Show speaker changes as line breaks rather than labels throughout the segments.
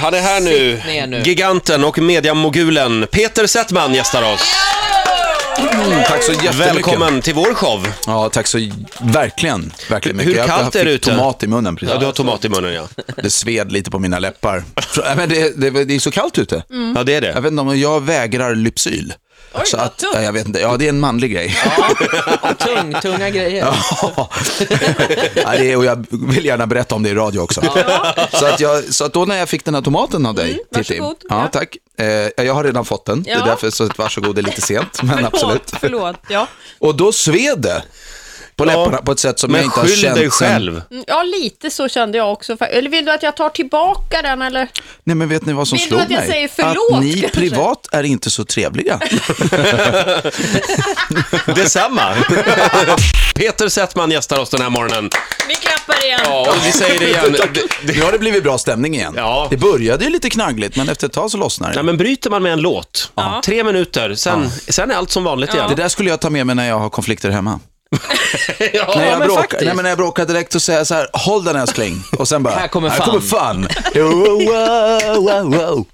Han är här nu.
Sitt ner nu.
Giganten och mediamogulen Peter Settman gästar oss.
Tack så jättemycket.
Välkommen till vår show.
Ja, tack så verkligen, verkligen
Hur
mycket. Jag-
kallt
jag
är det
fick
ute?
tomat i munnen precis.
Ja, du har tomat i munnen ja.
Det sved lite på mina läppar. Så- Nej, men det, det, det är så kallt ute.
Ja, det är
Mm. Jag
det.
vet inte om jag vägrar Lypsyl.
Oj,
så
vad
att,
tungt.
ja, jag vet inte. Ja, det är en manlig grej.
Och tung, tunga grejer.
Ja, det är, och jag vill gärna berätta om det i radio också. Så, att jag, så att då när jag fick den här tomaten av
Mm,
dig, Titti.
varsågod.
Ja,
Ja.
tack. Eh, jag har redan fått den. Det
Ja.
är därför så att varsågod, det är lite sent. Men absolut.
Förlåt, förlåt. Ja.
Och då sved det på läpparna på ett sätt som jag
Men
inte har
skyll
känt
dig
sen-
själv.
Mm, ja, lite så kände jag också. Eller vill du att jag tar tillbaka den eller?
Nej, men vet ni vad som
Vill du
slog
att jag
mig?
säger förlåt,
att ni
kanske?
privat är inte så trevliga.
Detsamma. Peter Settman gästar oss den här morgonen.
Vi klappar igen.
Ja, och vi säger det igen.
nu har det blivit bra stämning igen.
Ja.
Det började ju lite knaggligt, men efter ett tag så lossnar
Ja,
det.
men bryter man med en låt, tre minuter, sen, sen är allt som vanligt igen.
Det där skulle jag ta med mig när jag har konflikter hemma.
Ja,
när, jag
men
bråkar,
faktiskt.
nej, men när jag bråkar direkt och säger så här, håll den älskling. Och sen bara,
Här kommer
här
fan."
kommer fan. Wow, wow, wow, wow.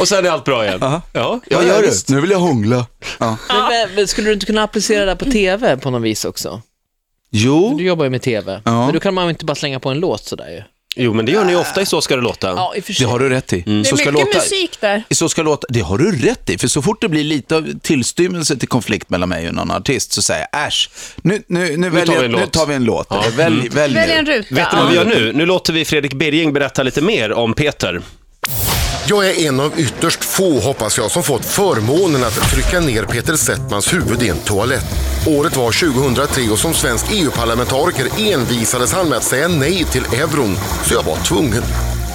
Och sen är allt bra igen. Ja.
Vad gör du?
visst.
Nu vill jag hångla. Ja.
Men, vä- vä- skulle du inte kunna applicera det här på TV på något vis också?
Jo,
Du jobbar ju med TV,
Ja.
men då kan man ju inte bara slänga på en låt sådär ju.
Jo, men det gör ni ofta i Så ska det låta.
Ja, i och för
det
sig.
har du rätt i.
Det är mycket musik där.
Så ska låta, det har du rätt i, för så fort det blir lite av tillstymmelse till konflikt mellan mig och någon artist så säger jag äsch, nu, nu, nu, väljer,
tar vi
tar
en
nu
låt." Mm.
tar vi en låt. Eller Välj, välj,
Välj
nu.
en ruta.
Vet du vad vi gör nu? Nu låter vi Fredrik Birging berätta lite mer om Peter.
Jag är en av ytterst få, hoppas jag, som fått förmånen att trycka ner Peter Settmans huvud i en toalett. Året var 2003 och som svensk EU-parlamentariker envisades han med att säga nej till euron, så jag var tvungen.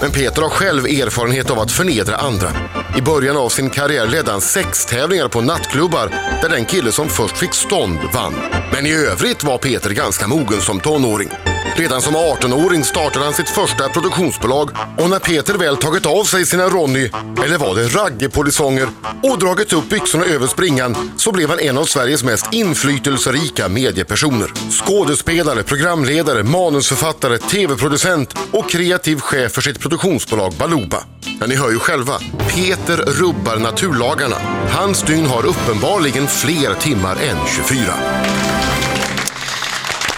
Men Peter har själv erfarenhet av att förnedra andra. I början av sin karriär ledde han sextävlingar på nattklubbar där den kille som först fick stånd vann. Men i övrigt var Peter ganska mogen som tonåring. Redan som 18-åring startade han sitt första produktionsbolag och när Peter väl tagit av sig sina Ronny, eller var det raggepolisonger, och dragit upp byxorna över springan så blev han en av Sveriges mest inflytelserika mediepersoner. Skådespelare, programledare, manusförfattare, tv-producent och kreativ chef för sitt produktionsbolag Baluba. Ja, ni hör ju själva. Peter rubbar naturlagarna. Hans dygn har uppenbarligen fler timmar än 24.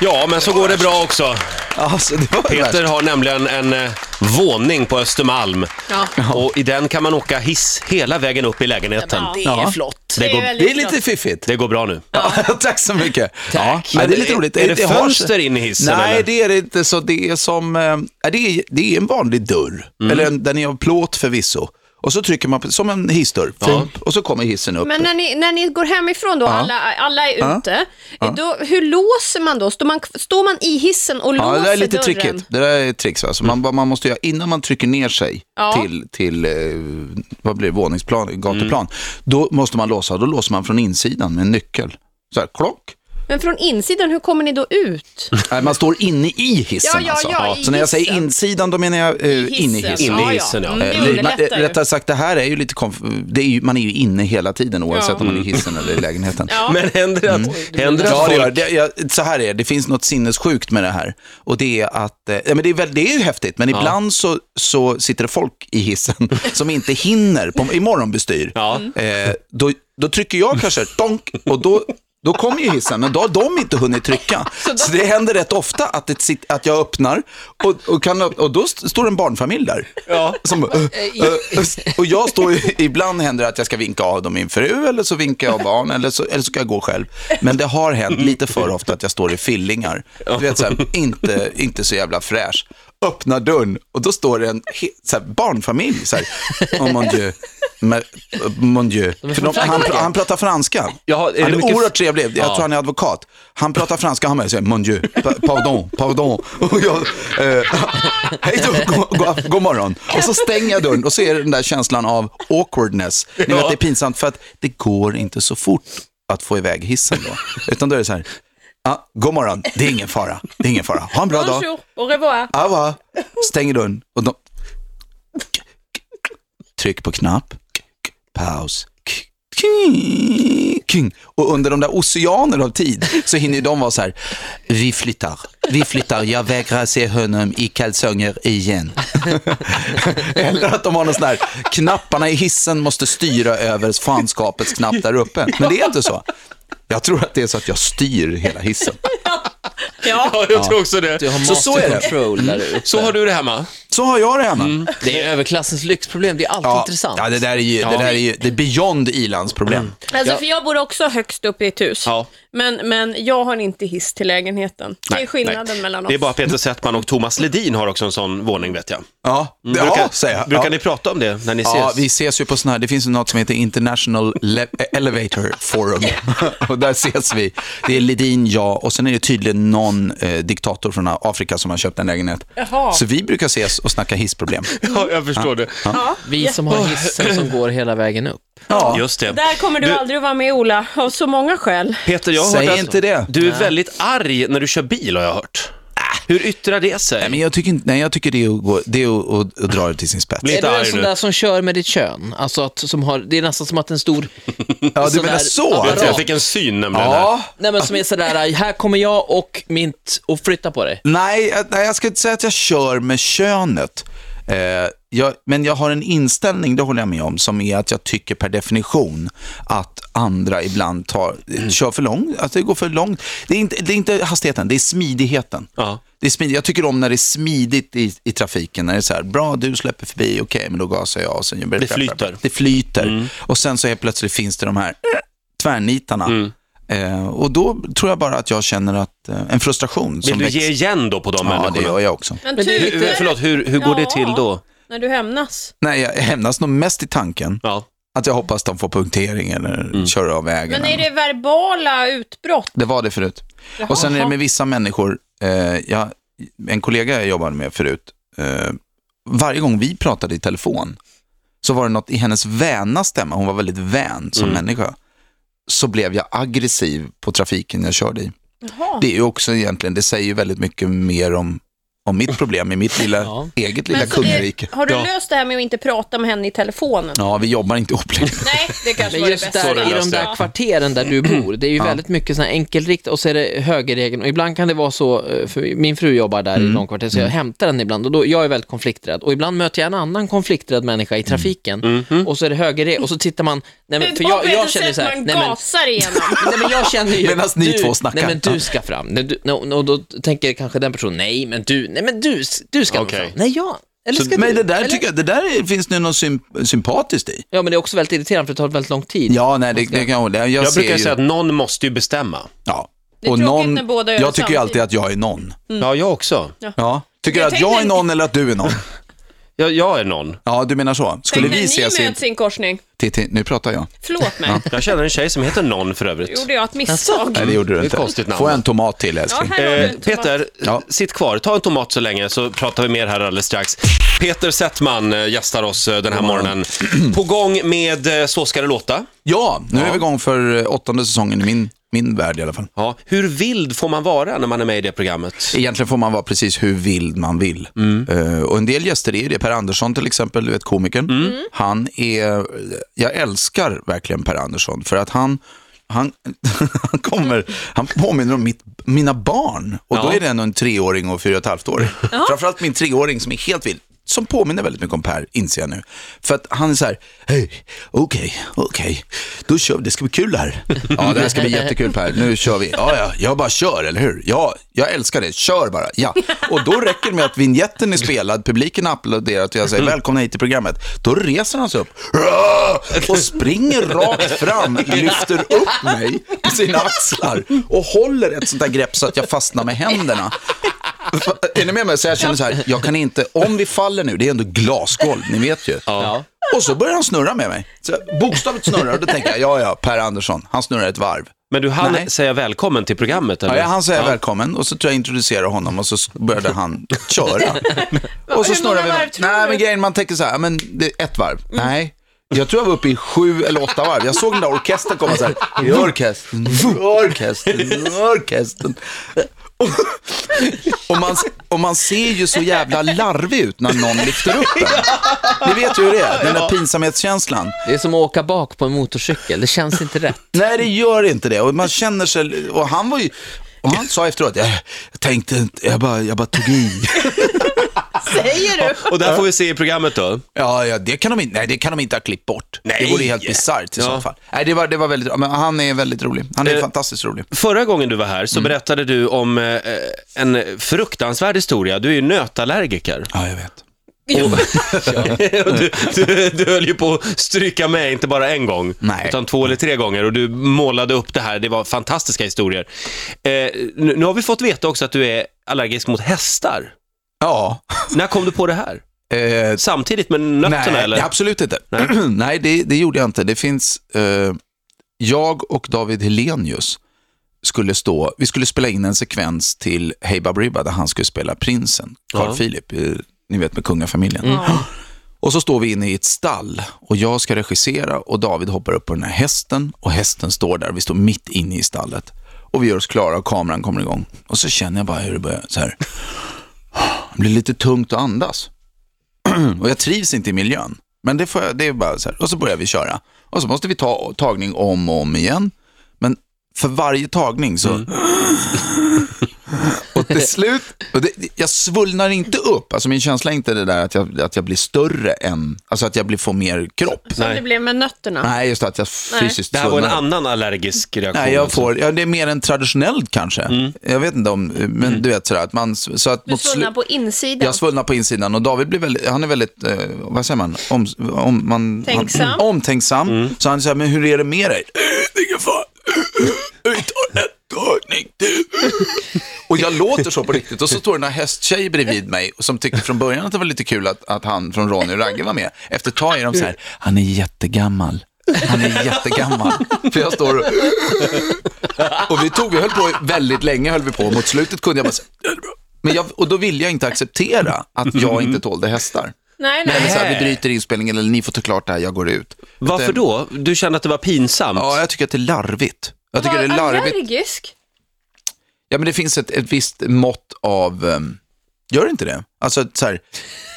Ja, men så går det bra också.
Alltså, det var det
Peter
värsta.
har nämligen en eh, våning på Östermalm.
Ja.
Och i den kan man åka hiss hela vägen upp i lägenheten.
Det är
Ja.
flott.
Det är,
Det är
väldigt bra.
lite fiffigt.
Det går bra nu.
Ja, tack så mycket. Ja, ja, det är lite roligt.
Är det
har-
fönster in i hissen,
Nej,
eller?
det är det inte. Så det är som, eh, ja, det är, det är en vanlig dörr.
Mm.
Eller en, den är av plåt förvisso. Och så trycker man på, som en hissdörr. Och så kommer hissen upp.
Men när ni, när ni går hemifrån då, alla, alla är ute, Då, hur låser man då? Står man, står man i hissen och
Ja,
låser
det där är lite
dörren? Mm.
trickigt. Det där är tricks. Alltså. Man, vad man måste göra innan man trycker ner sig
Ja.
till, till eh, vad blir det, våningsplan, gatuplan,
Mm.
då måste man låsa. Då låser man från insidan med en nyckel. Så här, klock.
Men från insidan, hur kommer ni då ut?
Nej, man står inne i hissen
Ja, ja,
alltså.
ja, i
Så när jag säger
hissen.
insidan, då menar jag eh, inne i
In
hissen.
i hissen, ja.
Mm,
Eh,
det
li- man, eh,
underlättar ju.
rättare sagt, det här är ju lite konf- det är ju, man är ju inne hela tiden oavsett
Ja.
om man är i hissen eller i lägenheten.
Men händer det att, händer det
Mm. Ja,
att
det
folk...
gör det. Jag, så här är det. Det finns något sinnessjukt med det här. Och det är att, eh, ja, men det är, väl, det är ju häftigt, men ibland så, så sitter det folk i hissen som inte hinner på, i morgonbestyr.
Ja.
Eh, då, då trycker jag kanske, donk, och då då kommer ju hissen, men då har de inte hunnit trycka. Så det händer rätt ofta att, det, sit- att jag öppnar och, och, kan, öpp- och då st- står en barnfamilj där. Som, bara, "Ö,
Eh,
ö, ö." och jag står ju, ibland händer det att jag ska vinka av dem min fru eller så vinkar jag av barn eller så, eller så ska jag gå själv. Men det har hänt lite för ofta att jag står i fillingar. Du vet, så här, inte, inte så jävla fräsch. Öppnar dörren och då står det en he- så här, barnfamilj så här, oh mon dieu, men, mon dieu. För de, han, han pratar franska.
Jaha, är det
han är
mycket-
oerhört trevlig. Jag tror han är advokat. Han pratar franska, han bara säger mon dieu, pa- pardon, pardon. Och jag, eh, hej då, god, god, god morgon. Och så stänger jag dörren och så är det den där känslan av awkwardness. Ni vet, det är pinsamt för att det går inte så fort att få iväg hissen då. Utan då är det så här, ah, god morgon, det är ingen fara, det är ingen fara. Ha en bra dag.
Bonjour, au revoir.
Ava, stänger dörren och de... Tryck på knapp. Paus. king. Och under de där oceaner av tid så hinner ju de vara så här, vi flyttar, vi flyttar, jag vägrar se honom i kalsonger igen. Eller att de har någon sån här, knapparna i hissen måste styra över fanskapets knapp där uppe. Men det är inte så. Jag tror att det är så att jag styr hela hissen.
Ja, jag tror också det.
Du har
Så- så är
master
det. Mm.
control där ute.
Så har du det hemma.
Så har jag det hemma.
Det är överklassens lyxproblem, det är alltid
Ja,
intressant.
ja, det där är ju, det där är ju, det är beyond Ilans problem.
Alltså, för jag bor också högst upp i ett hus.
Ja.
Men, men jag har inte hiss till lägenheten. det är skillnaden
Nej.
mellan oss.
Det är bara Peter Settman och Thomas Ledin har också en sån våning vet jag.
Ja, det- ja säger jag.
Mm. brukar
ja.
ni prata om det när ni ses?
Ja, vi ses ju på sån här, det finns ju något som heter International Le- eh, Elevator Forum. och där ses vi. Det är Ledin, jag och sen är det tydligen någon eh, diktator från Afrika som har köpt en lägenhet.
Jaha.
Så vi brukar ses och snacka hissproblem.
Ja, jag förstår det.
Vi som har hissen som går hela vägen upp.
Ja,
Just det.
Där kommer du,
Du-
aldrig att vara med Ola, av så många skäl.
Peter, jag har
Säg
hört att
inte det.
du är väldigt arg när du kör bil har jag hört. Hur yttrar det sig?
Nej, men jag tycker, inte, nej, jag tycker det är att, gå, det är att, att, att dra det till sin spets.
Bli-
Är
Lite
du en
arg
sån
nu.
där som kör med ditt kön? Alltså att, som har, det är nästan som att en stor...
Ja, du
sån
menar
där
så?
jag, tror jag
apparat.
fick en syn nämligen. här.
Ja.
Nej men som är sådär, här kommer jag och mitt, och flytta på dig.
Nej, jag- nej, jag ska inte säga att jag kör med könet. Eh, jag, men jag har en inställning, det håller jag med om, som är att jag tycker per definition att andra ibland tar,
Mm.
kör för långt, att det går för långt. Det är inte, det är inte hastigheten, det är smidigheten.
Ja.
Det är smidigt. Jag tycker om när det är smidigt i, i trafiken, när det är så här, bra du släpper förbi, okej, men då gasar jag och sen gör
Det flyter. Mm.
Det flyter. Och sen så helt plötsligt finns det de här eh, tvärnitarna.
Mm.
Eh, och då tror jag bara att jag känner att eh, en frustration
Vill
som
du
växer.
ge igen då på de
Ja, det
människorna?
gör jag eh, också.
Men,
Men det är
tur
lite-
Hur,
inte
förlåt, hur, hur går det till då?
typ, när du hämnas.
Nej, jag hämnas nog mest i tanken.
Ja.
Att jag hoppas de får punktering eller kör av vägen.
Men är det verbala utbrott?
det var det förut. Och sen är det med vissa människor, eh, jag, en kollega jag jobbade med förut, eh, varje gång vi pratade i telefon så var det något i hennes väna stämma, hon var väldigt vän som människa, så blev jag aggressiv på trafiken jag körde i. Det är ju också egentligen, det säger ju väldigt mycket mer om, om mitt problem i mitt lilla,
Ja.
eget lilla
så
kungarike.
det, har du
Ja.
löst det här med att inte prata med henne i telefonen?
Ja, vi jobbar inte ihop längre.
Nej, det kanske
Men
var det
just
bästa.
Så det
där, i de
löste
där
jag.
kvarteren där du
Mm.
bor, det är ju väldigt mycket sån här enkelrikt och så är det högerregeln och ibland kan det vara så, eh, för min fru jobbar där
Mm.
i långkvarter så jag hämtar henne ibland och då, jag är väldigt konflikträdd och ibland möter jag en annan konflikträdd människa
Mm.
i trafiken
Mm-hmm.
och så är det högerregeln och så tittar man, nej men för jag, jag känner ju så här,
man
nej men
gasar igenom.
Nej, men jag känner ju...
Medan ni
du,
två snackar.
Nej, men du ska fram. Nej, du, no, no, då tänker kanske den personen, nej, men du, nej, men du, du ska nog
Okej.
fram. Nej, jag. Eller ska du?
Men det där
eller?
tycker jag, det där är- finns det något symp- sympatiskt i.
Ja, men det är också väldigt irriterande för det tar väldigt lång tid.
Ja, nej, det, det kan jag hålla. Jag,
Jag
ser
brukar
ju,
säga att någon måste ju bestämma.
ja.
Det är
och
tråkigt
någon,
när båda gör
jag
det
tycker ju alltid
samtidigt.
att jag är någon.
Ja, jag också.
Ja. Tycker du
Jag
att jag är
tänkte-
någon eller att du är någon?
Jag, jag är någon.
Ja, du menar så. Skulle
Tänk när
vi
ni
ses i...
möts i en korsning.
Titti, nu pratar
Mm.
jag.
Förlåt mig.
Jag känner en tjej som heter någon för övrigt.
Gjorde jag ett misstag?
Nej, det gjorde du
är
inte.
konstigt namn.
Får jag en tomat till, älskling?
Ja, här har du
Eh,
en tomat.
Peter,
Ja.
sitt kvar. Ta en tomat så länge så pratar vi mer här alldeles strax. Peter Settman eh, gästar oss eh, den här morgonen. På gång med eh, Så ska det låta.
Ja, nu är vi igång för eh, åttonde säsongen i min, min värld i alla fall.
Ja. Hur vild får man vara när man är med i det programmet?
Egentligen får man vara precis hur vild man vill. Eh, och en del gäster är ju det. Per Andersson till exempel, du vet komikern. Han är, jag älskar verkligen Per Andersson för att han, han, han kommer, han påminner om mitt, mina barn. Och då
Ja.
är det ändå en treåring och fyra och ett halvt år. Framförallt min treåring som är helt vild. Som påminner väldigt mycket om Per, inser jag nu. För att han är så här, hej, okej, okej, då kör vi, det ska bli kul här. Ja, det här ska bli jättekul Per, nu kör vi. Ja, ja, jag bara kör, eller hur? Ja, jag älskar det, kör bara, ja. Och då räcker det med att vignetten är spelad, publiken har applåderat och jag säger välkomna hit till programmet. Då reser han sig upp och springer rakt fram, lyfter upp mig på sina axlar och håller ett sånt där grepp så att jag fastnar med händerna. Är ni med mig? Så jag känner så här, jag kan inte, om vi faller nu, det är ändå glasgolv, ni vet ju.
Ja.
Och så börjar han snurra med mig. Så jag- bokstavligt snurrar och då tänker jag, ja ja, Per Andersson, han snurrar ett varv.
Men du hann
Nej.
säga välkommen till programmet? Eller?
Ja, han säger välkommen och så tror jag introducerar honom och så började han köra. och så
Hur
snurrar
många
vi.
varv tror
Nej,
du? Mm.
men grejen, man tänker så här, ja, men det är ett varv. Nej. Jag tror jag var uppe i sju eller åtta varv. Jag såg den där orkestern komma så här. I orkestern, orkestern, orkestern. Och man, och man ser ju så jävla larvig ut när någon lyfter upp en. Ni vet ju hur det är, den där pinsamhetskänslan.
Det är som att åka bak på en motorcykel, det känns inte rätt.
Nej, det gör inte det. Och man känner sig, och han var ju, och han sa efteråt, jag, jag tänkte inte, jag bara, jag bara tog i.
Säger du?
Och där får vi se i programmet då.
Ja, ja det, kan de, inte- nej, det kan de inte ha klippt bort.
Nej.
Det vore helt bisarrt i
Ja.
så fall. Nej, det var, det var väldigt, men han är väldigt rolig. Han är fantastiskt rolig.
Förra gången du var här
Mm.
så berättade du om eh, en fruktansvärd historia. Du är ju nötallergiker.
Ja, jag vet.
Och du, du, du höll ju på att stryka med, inte bara en gång,
Nej.
utan två eller tre gånger. Och du målade upp det här, det var fantastiska historier. Eh, nu, nu har vi fått veta också att du är allergisk mot hästar.
Ja.
När kom du på det här?
Eh,
Samtidigt med nötterna
nej,
eller?
nej, absolut inte. Nej, det, det gjorde jag inte. Det finns, eh, jag och David Helenius skulle stå, vi skulle spela in en sekvens till Hey Baberiba där han skulle spela prinsen, Carl
Ja.
Philip, eh, ni vet med kungafamiljen. Och så står vi inne i ett stall och jag ska regissera och David hoppar upp på den här hästen och hästen står där. Vi står mitt inne i stallet och vi gör oss klara och kameran kommer igång. Och så känner jag bara hur det börjar så här. Det blir lite tungt att andas. Och jag trivs inte i miljön. Men det, får jag, det är bara så här. Och så börjar vi köra. Och så måste vi ta tagning om och om igen. Men för varje tagning så...
Mm.
och till slut... Och det, jag svullnar inte upp. Alltså min känsla är inte det där att jag, att jag blir större än... Alltså att jag blir, får mer kropp.
Som
Nej.
det blev med nötterna.
Nej, just det, att jag fysiskt
Det här var en
svullnar upp.
annan allergisk reaktion.
Nej, jag
alltså.
får, ja, det är mer än traditionellt kanske.
Mm.
Jag vet inte om, men du vet sådär att man, så att
Mm. Du
mot slu-
svullnar på insidan.
jag svullnar på insidan och David blir väldigt, han är väldigt, eh, vad säger man, om, om, man
Tänksam.
Han, Mm. omtänksam. Så han säger, men hur är det med dig? "Eh, Det är ingen fara. Vi tar en tagning till." Och jag låter så på riktigt. Och så står den här hästtjejen bredvid mig som tyckte från början att det var lite kul att, att han från Ronny och Ragge var med. Efter ett tag är de så här, han är jättegammal. Han är jättegammal. För jag står och... Och vi tog, vi höll på väldigt länge, höll vi på. Mot slutet kunde jag bara säga, "Ja, det är bra." men jag, och då ville jag inte acceptera att jag inte tålde hästar.
Nej,
Eller så
nej.
här, vi bryter inspelningen eller ni får ta klart det här, jag går ut. Mm.
Varför
Utan-
då? Du kände att det var pinsamt?
Ja, jag tycker att det är larvigt. Jag tycker
Var
det är larvigt.
allergisk?
Ja, men det finns ett, ett visst mått av, ehm, gör det inte det? Alltså så här,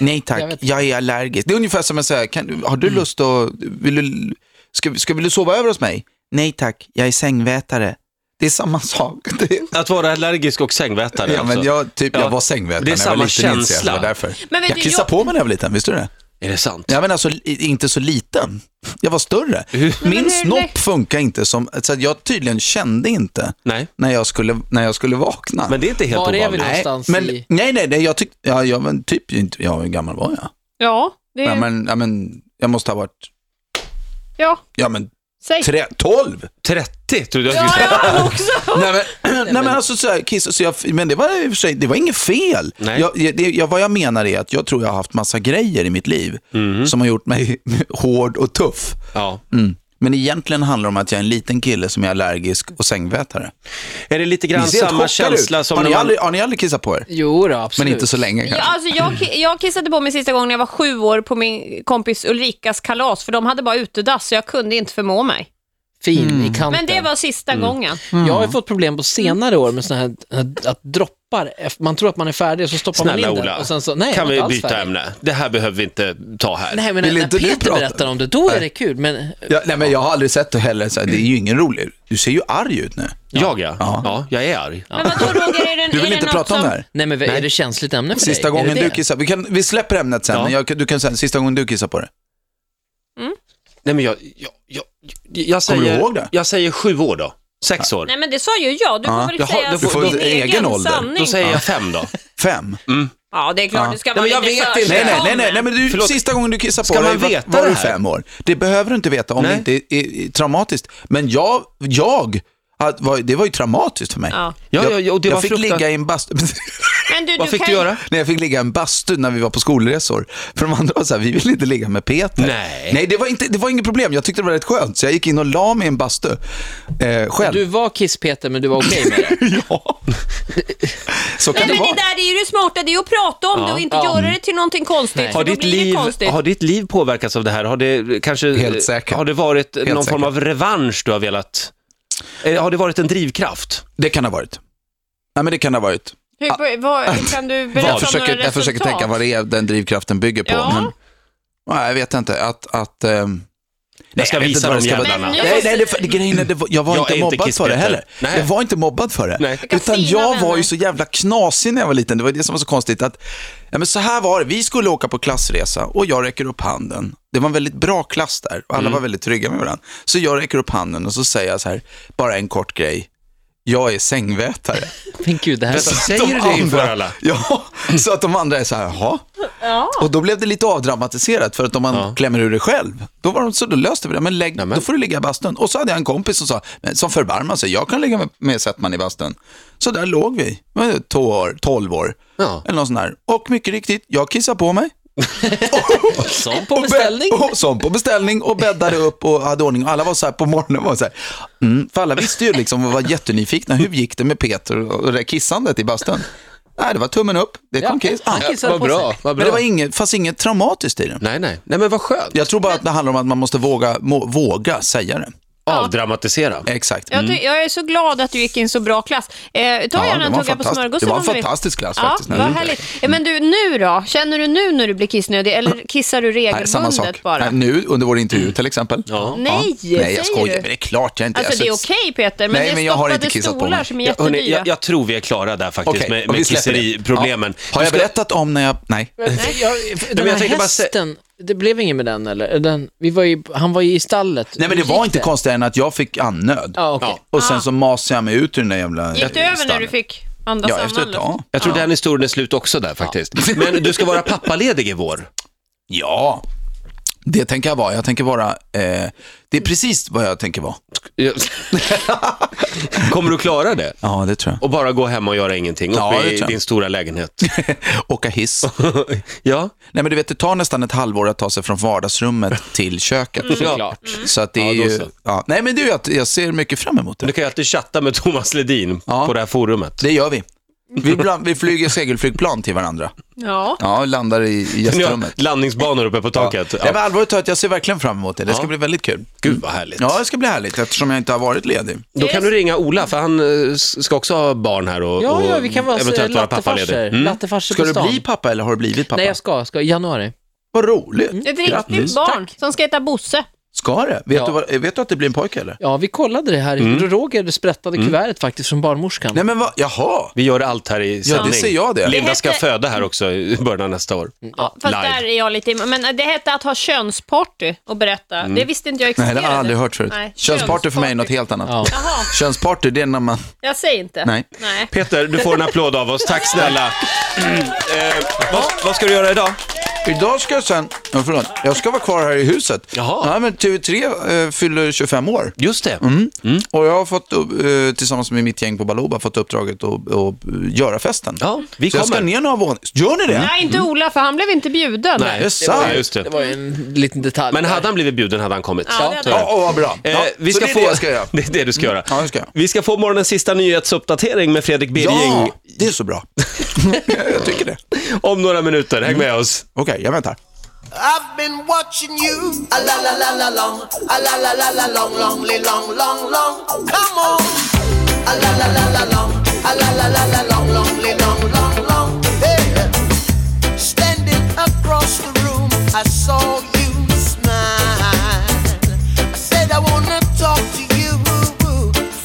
nej tack,
Jag
jag,
vet.
är allergisk. Det är ungefär som att säga, kan, du- har du lust att, vill du, ska, ska, vill du sova över hos mig? Nej tack, jag är sängvätare. Det är samma sak. Det,
Att vara allergisk och sängvätare
ja,
alltså.
men jag, typ,
Ja.
jag var sängvätare
Det är
när jag var
samma
liten, inser jag. Det var
känsla.
därför.
Men vet
jag
du,
kissade
jag-
på mig när jag var liten, visste du det?
Är det sant?
Ja, men alltså i- inte så liten. Jag var större. Min
hur-
snopp funkar inte som, så att jag tydligen kände inte
Nej,
när jag skulle, när jag skulle vakna.
men det är inte helt
Var är vi
ovanligt.
då?
Nej,
någonstans
men,
i-
nej, nej, nej, jag tyckte, ja, jag men typ inte, ja, hur gammal var jag?
Ja, det
Ja,
är...
men, ja, men, jag måste ha varit,
Ja,
ja men,
säg.
tre, tolv!
30 trodde jag
Ja,
skulle säga.
jag också.
Nej, men, nej, men alltså så här, kiss, så jag, men det var i och för sig, det var inget fel.
Nej.
Jag, jag- det, jag, vad jag menar är att jag tror jag har haft massa grejer i mitt liv som har gjort mig hård och tuff.
Ja.
Mm. Men egentligen handlar det om att jag är en liten kille som är allergisk och sängvätare.
Är det lite grann
Ni ser helt
samma
chockade
känsla
ut.
som
har
när
ni,
man...
aldrig, har ni aldrig kissat på er?
Jo då, absolut.
Men inte så länge kanske?
Ja, alltså jag, ki- jag kissade på mig sista gången jag var sju år på min kompis Ulrikas kalas, för de hade bara utedass så jag kunde inte förmå mig.
Fin i
Mm.
kanten. Mm.
Men det var sista gången.
Jag har ju fått problem på senare år med såna här, att droppar, eff- man tror att man är färdig och så stoppar
Snälla
man in
Ola,
den. Och sen så, nej,
kan
jag är
vi
inte alls
byta
färdig.
ämne? Det här behöver vi inte ta här.
Nej, men
Vill
när
inte du
Peter
prata?
berättar om det, då är det kul. Men
Ja, nej, men jag har aldrig sett det heller. Så här, det är ju ingen rolig. Du ser ju arg ut nu.
Jag ja. ja. jag är arg.
Men vadå Roger, är det,
Du vill
är det
inte
något
prata om
som...
det här?
Nej men är det känsligt ämne för dig?
Sista
Är det
gången
det?
du kissar. Vi, kan, vi släpper ämnet sen.
Ja.
men Jag, du kan säga sista gången du kissar på det.
Nej, men jag, jag, jag, jag
Kommer
säger...
du ihåg det?
Jag säger sju år då. Sex år.
Nej men det sa ju jag, du får väl
Jaha,
säga
du får-
din
du-
egen,
egen ålder.
sanning.
Då säger jag fem då.
Fem?
Ja det är klart, du ska
Nej,
vara
men jag
lite
vet inte.
Nej, nej, nej,
försiktig.
nej, nej, men du,
Förlåt.
sista gången du kissar på
Ska
dig
man
var-
veta
var
det
du
här?
fem år. Det behöver du inte veta om
Nej.
det inte är, är, är traumatiskt. Men jag, jag att, var, det var ju traumatiskt för mig.
Ja.
Ja, ja, ja, och det
jag
var
fick
fruktan-
ligga i en bastu.
Men du,
Vad
du
fick
kan...
du göra?
Nej, jag fick ligga i en bastu när vi var på skolresor. För de andra var så här, vi vill inte ligga med Peter.
Nej.
Nej, det var, inte, det var inget problem. Jag tyckte det var rätt skönt, så jag gick in och la mig i en bastu. Eh, själv.
Du var Kiss-Peter men du var okej med det.
Ja. Så kan
Nej men
det vara.
det där är ju det smarta, det är ju att prata om det och inte göra det till någonting konstigt. för
Har
då
ditt,
blir det
liv,
konstigt.
har ditt liv påverkats av det här? Har det kanske...
Helt säkert.
Har det varit någon
säkert.
form av revansch du har velat... Eh, Har det varit en drivkraft?
Det kan ha varit. Nej, men det kan det ha varit.
Hur, vad, kan du berätta
Jag
Jag
om
försöker,
några
jag försöker
resultat?
tänka vad det är den drivkraften bygger på.
Ja.
Men, nej, jag vet inte. Att, att, ehm,
Jag ska
jag vet inte
visa
vad
de
det ska vara.
jävlarna.
Men nu-
Nej, nej, det, för- grejen är, det var, jag var
Jag är
inte
inte
mobbad för det
Kiss-Peter.
heller.
Nej.
Jag var inte mobbad för det.
Nej.
Vilka
Utan
fina
jag
vänner.
var ju så jävla knasig när jag var liten. Det var det som var så konstigt. Att, ja, men så här var det, vi skulle åka på klassresa och jag räcker upp handen. Det var en väldigt bra klass där och alla
Mm.
var väldigt trygga med varandra. Så jag räcker upp handen och så säger jag så här, bara en kort grej. Jag är sängvätare.
Men gud, det här...
Säger du det inför alla?
Ja, så att de andra är så här, jaha. Och då blev det lite avdramatiserat för att om man klämmer ur det själv, då var de så, då löste vi det. Men lägg,
Nämen.
då får du ligga i bastun. Och så hade jag en kompis som sa, men- som förbarmade sig, jag kan ligga med, med Settman i bastun. Så där låg vi, 12 år, 12 år
Ja.
eller något sånt där. Och mycket riktigt, jag kissade på mig.
Som på
Och bä-
beställning.
Och, som på beställning och bäddade upp och hade ordning. Och alla var så här på morgonen, var så här, mm, för alla visste ju liksom och var jättenyfikna. Hur gick det med Peter och det där kissandet i bastun? Nej, det var tummen upp. Det kom
Ja,
kiss.
han kissade
vad
på
bra,
sig.
vad bra.
Men det var inget, fanns inget traumatiskt i det.
Nej, nej. Nej, men vad skönt.
Jag tror bara att det handlar om att man måste våga, må, våga säga det.
Avdramatisera.
Exakt.
Jag, ty- jag är så glad att du gick i en så bra klass. Eh, ta
Mm. Ja,
gärna
det
en
var
tugga på
fantastiskt.
smörgåsen
Det var en
om du vill.
fantastisk klass
ja,
faktiskt, när
Vad
du gjorde Mm.
härligt. Ja, men du, nu då? Känner du nu när du blir kissnödig eller kissar du
Nej, samma
regelbundet
sak.
bara?
Nej, nu under vår intervju till exempel.
Ja.
Nej,
Nej, jag
säger
skojar.
du?
Men det är klart jag inte
Alltså det är
Alltså,
okej Peter, men
Nej,
det är
men jag har
stoppade
inte kissat på
stolar
mig.
som är
Ja, hörni,
jättedyra.
jag, jag tror vi är klara där faktiskt
okej,
med,
och vi
med
släpper det.
kisseriproblemen.
Ja. Har jag berättat om när jag... Nej.
Nej, jag, den
jag
här
tänkte bara sä-
hästen, det blev inget med den eller? Den, vi var ju, han var ju i stallet.
Nej, men det
Hur gick
var inte konstigare än att jag fick andnöd.
Ja, okej.
Och sen så masade jag mig ut ur den där jävla...
Ah. Gick det över när du
stallet.
fick liksom? andas
Ja,
annan
efter ett
luft?
tag.
Jag tror den historien är slut också där faktiskt. Men du ska vara pappaledig i vår.
Ja, det tänker jag vara. Jag tänker vara... Eh, det är
Mm.
precis vad jag tänker vara.
Kommer du klara det?
Ja, det tror jag.
Och bara gå hem och göra ingenting uppe
Ja, det
i
tror jag.
din stora lägenhet.
Åka hiss.
ja,
Nej, men du vet, det tar nästan ett halvår att ta sig från vardagsrummet till köket.
Mm.
Mm.
Såklart.
Så att det
Ja,
är
då
ju...
så.
Ja. Nej, men du, jag, jag ser mycket fram emot
du
det.
kan ju alltid chatta med Thomas Ledin
Ja.
på det här forumet.
Det gör vi. Vi, ibland, vi flyger segelflygplan till varandra.
Ja.
Ja, och landar i i
Ni har
gästrummet.
landningsbanor uppe på taket.
Nej, men allvarligt talat, jag ser verkligen fram emot det. Det ska
Ja.
bli väldigt kul.
Gud vad härligt.
Ja, det ska bli härligt eftersom jag inte har varit ledig.
Då kan du ringa Ola, för han eh, s- ska också ha barn här och,
Ja, ja, vi kan vara
och
så-
eventuellt vara pappaledig.
lattefarsor.
Mm.
Lattefarsor
Ska
på
du
stan.
bli pappa eller har du blivit pappa?
Nej, jag ska. ska I januari.
Vad roligt.
Ett riktigt barn som ska heta Bosse.
Ska det? Vet,
Ja.
du vad, vet du att det blir en pojke eller?
Ja, vi kollade det här.
Mm.
Roger sprättade kuvertet faktiskt från barnmorskan.
Nej men vad, jaha.
Vi gör allt här i
Ja,
sändning.
det ser jag det.
Linda ska
Det hette-
föda här också i början av nästa år.
Ja, fast
Live.
där är jag lite im- Men det hette att ha könsparty och berätta.
Mm.
Det visste inte jag
Nej,
existerade.
det har jag aldrig hört förut.
Nej,
Könsparty för mig är något
könsparty.
helt annat.
Ja.
Jaha,
Könsparty, det är när man...
jag säger inte.
Nej.
Nej.
Peter, du får en applåd av oss. Tack snälla. eh, vad, vad ska du göra idag?
Idag ska jag sen... Ja, förlåt. Jag ska vara kvar här i huset.
Jaha.
Nej, men TV3 eh, fyller 25 år.
Just
Mm.
det.
Och jag har fått, upp- eh, tillsammans med mitt gäng på Baloba, fått uppdraget att, att göra festen.
Ja, vi
Så jag ska
kommer.
ner några våningar. Gör ni det?
Nej, inte Ola, för han blev inte bjuden.
Nej,
Det är sant.
Ja, just
Det
det.
var ju en liten detalj.
Men hade han blivit bjuden hade han kommit.
Ja, det hade
Så är
Ja, åh, vad bra.
Eh,
Ja,
vi
så
ska
det är
få...
det jag ska göra. Mm.
Det är det du ska göra.
Ja, det ska jag.
Vi ska få morgonens sista nyhetsuppdatering med Fredrik Birging
Ja, det är så bra. jag tycker det.
om några minuter. Häng
Mm.
med oss.
Okej, jag väntar.
I've been watching you. A la la la la long, a la la la la long, long, li- long, long, long. Come on. A la la la la long, a la la la la long, long, li- long, long, long. Hey. Standing across the room, I saw you smile. I said I wanna talk to you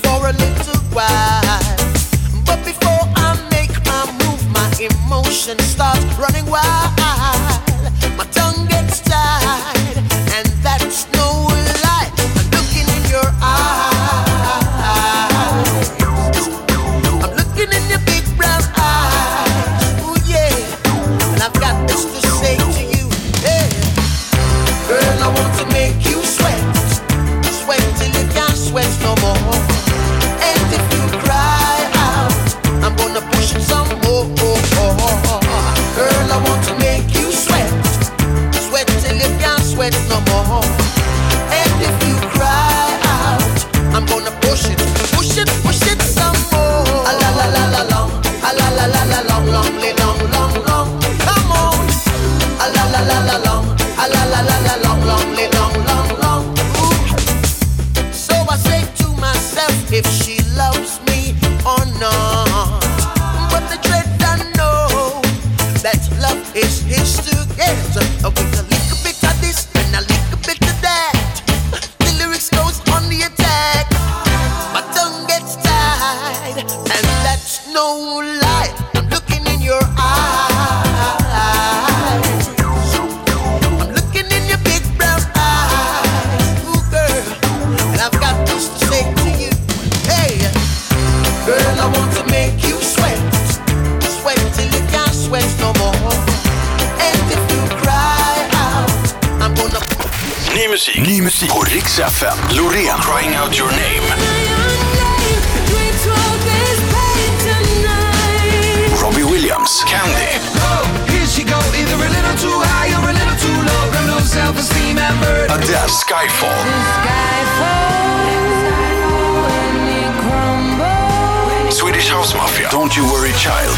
for a little while. But before I make my move, my emotions start running wild. My tongue gets tied, and that's no lie. I'm looking in your eyes. I'm looking in your big brown eyes. Ooh yeah. And I've got this to say to you. Hey. Girl, I want to make you sweat. Sweat till you can't sweat no more. And if you cry out, I'm gonna push it some more. Girl, I want to make you sweat. Sweat till you can't sweat no more. And if you cry out, I'm gonna push it, push it, push it some more. A la la la la long, a la la la la long, long, li- long, long, long. Come on. A la la la la long, a la la la la long, long, li- long, long, long. Ooh. So I say to myself if she loves me or not. Uh, With a little bit of this and a little bit of that. The lyrics goes on the attack. My tongue gets tied, and that's no lie. I'm looking in your eyes. I'm looking in your big brown eyes, ooh girl, and I've got this to say to you, hey, girl, I want to make you sweat, sweat till you can't sweat no more. And if you cry out, I'm gonna
Ny musik. Ny musik. På Rix FM. Loreen. Crying out your name. Robbie Williams. Candy. Adele. Skyfall. Swedish House Mafia. Don't you worry child.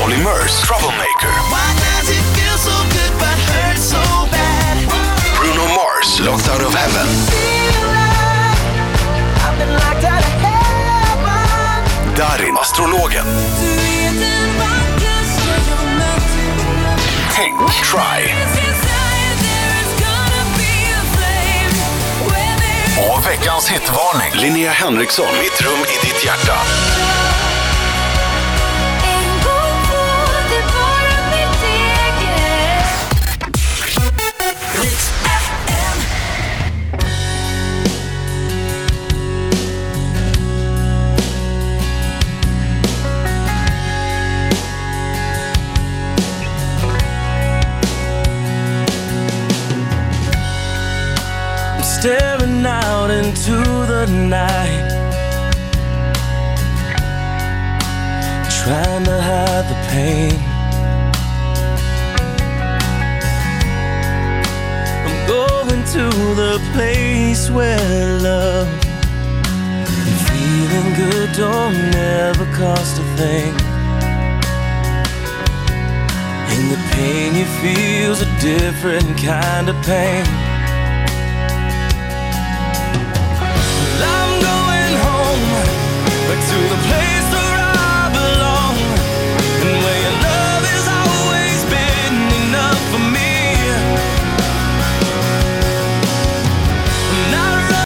Olly Murs. Troublemaker.
Why does it feel so good but hurt so bad?
Bruno Mars. Locked out of heaven.
I've been locked out of heaven.
Darin. Astrologen. Think. Try. Och veckans hitvarning. Linnea Henriksson. Mitt rum i ditt hjärta.
staring out into the night. Trying to hide the pain. I'm going to the place where love and feeling good don't ever cost a thing. And the pain you feel's a different kind of pain.